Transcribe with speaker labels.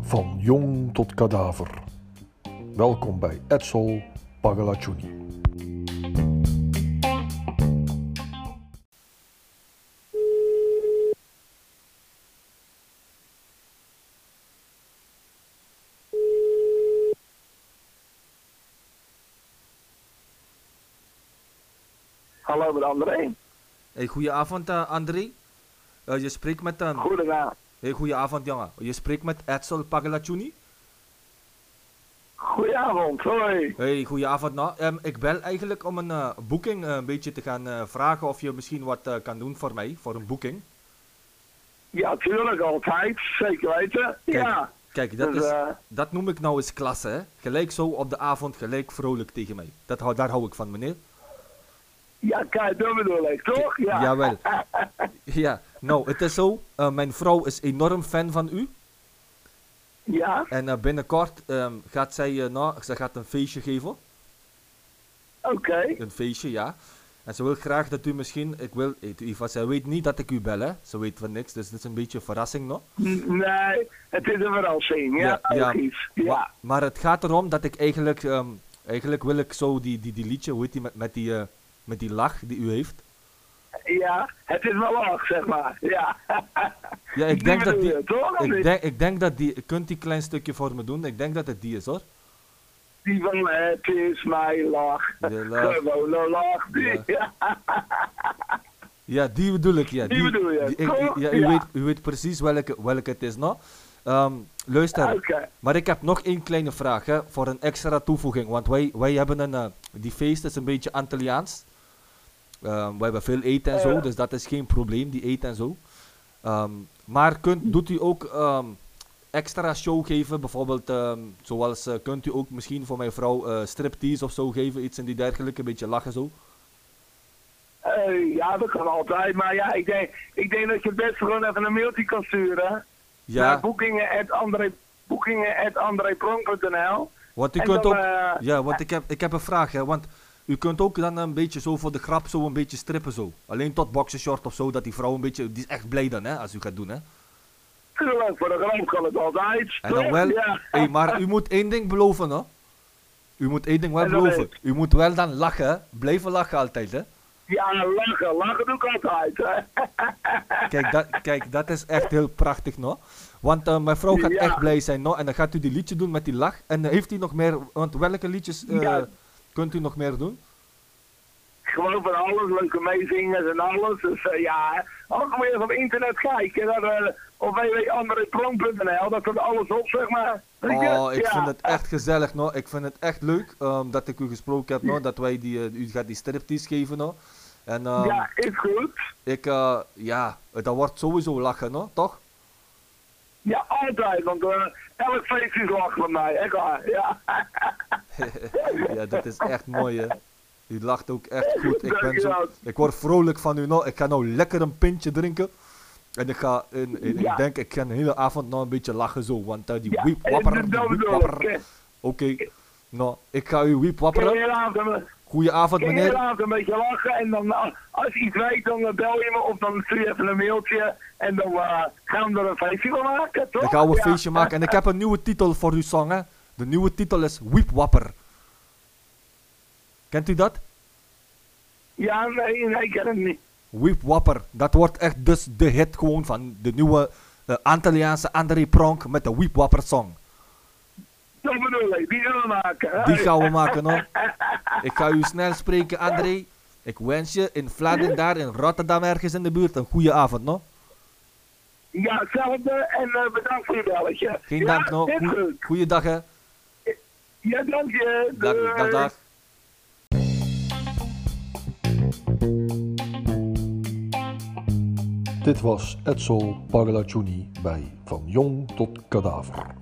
Speaker 1: Van jong tot kadaver. Welkom bij Edsel Pagalaccioni.
Speaker 2: Hallo met André.
Speaker 3: Hey, goedenavond eh, André. Eh, je spreekt met... eh,
Speaker 2: Goedenavond.
Speaker 3: hey, goedenavond jongen. Je spreekt met Edsel Pagalaccioni.
Speaker 2: Goedenavond, hoi.
Speaker 3: Hey, goedenavond nou. Em, ik bel eigenlijk om een eh, boeking eh, een beetje te gaan eh, vragen of je misschien wat eh, kan doen voor mij, voor een boeking.
Speaker 2: Ja, tuurlijk, altijd. Zeker weten. Ja.
Speaker 3: Kijk, dat,
Speaker 2: Dus,
Speaker 3: is,
Speaker 2: eh,
Speaker 3: dat noem ik nou eens klasse hè. Gelijk zo op de avond, gelijk vrolijk tegen mij. Dat, hou- daar hou ik van meneer.
Speaker 2: Ja, kijk, dat bedoel ik, toch? Ja.
Speaker 3: Jawel. ja, nou het is zo. eh, mijn vrouw is enorm fan van u.
Speaker 2: Ja?
Speaker 3: En eh, binnenkort ehm, gaat zij, eh, nou, ze gaat een feestje geven.
Speaker 2: Oké.
Speaker 3: Een feestje, ja. En ze wil graag dat u misschien, ik wil, eh, Iva, zij weet niet dat ik u bel, hè. Ze weet van niks, dus dit is een beetje een verrassing nog.
Speaker 2: N- Nee, het is een verrassing. Ja, logisch. Ja.
Speaker 3: Maar, maar het gaat erom dat ik eigenlijk, ehm, eigenlijk wil ik zo die, die, die liedje, hoe heet die, met, met die, eh, met die lach die u heeft.
Speaker 2: ja, het is wel laag, zeg maar. Ja.
Speaker 3: Ja, ik
Speaker 2: Die
Speaker 3: denk dat
Speaker 2: bedoel
Speaker 3: die,
Speaker 2: je, toch, of
Speaker 3: ik
Speaker 2: niet?
Speaker 3: denk, ik denk dat die, kunt die klein stukje voor me doen? Ik denk dat het die is, hoor.
Speaker 2: Die van het is mijn lach.
Speaker 3: De lach.
Speaker 2: Gewone lach. Die, ja.
Speaker 3: Ja, die bedoel ik, ja.
Speaker 2: Die bedoel je,
Speaker 3: die- ik-
Speaker 2: toch?
Speaker 3: ja, u,
Speaker 2: Ja.
Speaker 3: Weet, u weet precies welke, welke het is, nou. Ehm, luister,
Speaker 2: Ah, Oké.
Speaker 3: maar ik heb nog één kleine vraag, hè, voor een extra toevoeging. Want wij, wij hebben een, eh, die feest is een beetje Antilliaans. Ehm, wij hebben veel eten en zo,
Speaker 2: Eh.
Speaker 3: dus dat is geen probleem, die eten en zo. Ehm, maar kunt, doet u ook ehm, extra show geven, bijvoorbeeld, ehm, zoals, eh, kunt u ook misschien voor mijn vrouw eh, striptease of zo geven, iets en die dergelijke, een beetje lachen zo?
Speaker 2: Eh, ja, dat kan altijd. Maar ja, ik denk, ik denk dat je best gewoon even een mailtje kan sturen. naar boekingen at André, boekingen at andrépronk.nl.
Speaker 3: Want u
Speaker 2: En
Speaker 3: kunt
Speaker 2: dan,
Speaker 3: ook,
Speaker 2: eh,
Speaker 3: ja, want ik heb, ik heb een vraag, hè, want u kunt ook dan een beetje zo voor de grap zo een beetje strippen zo. Alleen tot boxershort of zo, dat die vrouw een beetje, die is echt blij dan, hè, als u gaat doen, hè.
Speaker 2: Tuurlijk, voor de grond kan het altijd.
Speaker 3: En dan wel,
Speaker 2: Ja.
Speaker 3: hey, maar u moet één ding beloven, hoor. U moet één ding wel
Speaker 2: En dat
Speaker 3: beloven.
Speaker 2: is?
Speaker 3: U moet wel dan lachen, hè. Blijven lachen altijd, hè.
Speaker 2: ja, lachen, lachen doe ik altijd. hè.
Speaker 3: Kijk, dat, kijk, dat is echt heel prachtig, no? Want eh, mijn vrouw gaat
Speaker 2: Ja.
Speaker 3: echt blij zijn, no? En dan gaat u die liedje doen met die lach. En eh, heeft u nog meer, want welke liedjes eh,
Speaker 2: Ja.
Speaker 3: kunt u nog meer doen?
Speaker 2: Gewoon van alles, leuke meezingers en alles. Dus eh, ja, ook maar even op internet kijken. Naar, eh, op www.andrépronk.nl, daar komt alles op, zeg maar. Weet je?
Speaker 3: Oh, ik
Speaker 2: Ja.
Speaker 3: vind het echt gezellig, no. Ik vind het echt leuk ehm, dat ik u gesproken heb, no. Dat wij die, eh, u gaat die striptease geven, no. En ehm,
Speaker 2: Ja, is goed.
Speaker 3: ik, eh, ja, dat wordt sowieso lachen, no. Toch?
Speaker 2: Ja, altijd, want eh, elk feest is lachen van mij, echt waar. Ja,
Speaker 3: ja, dat is echt mooi, hè. U lacht ook echt goed. Ik, ben zo,
Speaker 2: Dankjewel.
Speaker 3: ik word vrolijk van u, no. Ik ga nou lekker een pintje drinken. En ik ga, en, en
Speaker 2: Ja.
Speaker 3: ik denk, ik ga een hele avond nog een beetje lachen zo. Want eh, die
Speaker 2: ja.
Speaker 3: wiep wapper, die
Speaker 2: dat
Speaker 3: wiep
Speaker 2: bedoel ik.
Speaker 3: wapper. Oké,
Speaker 2: Ken-
Speaker 3: nou, ik ga u wiep
Speaker 2: Ken
Speaker 3: wapperen.
Speaker 2: je avond,
Speaker 3: Goedenavond,
Speaker 2: Kun je
Speaker 3: meneer.
Speaker 2: laat een beetje lachen en dan nou, als je iets weet, dan eh, bel je me of dan stuur je even een mailtje en dan eh, gaan we er een feestje van maken, toch?
Speaker 3: Ik ga een
Speaker 2: Ja.
Speaker 3: feestje maken. En ik heb een nieuwe titel voor uw song, hè. De nieuwe titel is Weep Wapper. Kent u dat?
Speaker 2: Ja, nee, nee, ik ken het niet.
Speaker 3: Weep Wapper. Dat wordt echt dus de hit gewoon van de nieuwe eh, Antilliaanse André Pronk met de Weep Wapper song.
Speaker 2: Dat bedoel ik, die gaan we maken. hè?
Speaker 3: Die gaan we maken, hoor. Ik ga u snel spreken, André. Ik wens je in Vlaanderen, daar in Rotterdam, ergens in de buurt, een goede avond, no?
Speaker 2: Ja, hetzelfde en eh, bedankt voor je belletje.
Speaker 3: Geen
Speaker 2: ja,
Speaker 3: dank, no?
Speaker 2: Is
Speaker 3: Goe-
Speaker 2: goed.
Speaker 3: Goeiedag, hè.
Speaker 2: Ja, dank je.
Speaker 3: Dag,
Speaker 2: Doei.
Speaker 3: dag, dag.
Speaker 1: Dit was Edsel Paglaccioni bij Van Jong tot Kadaver.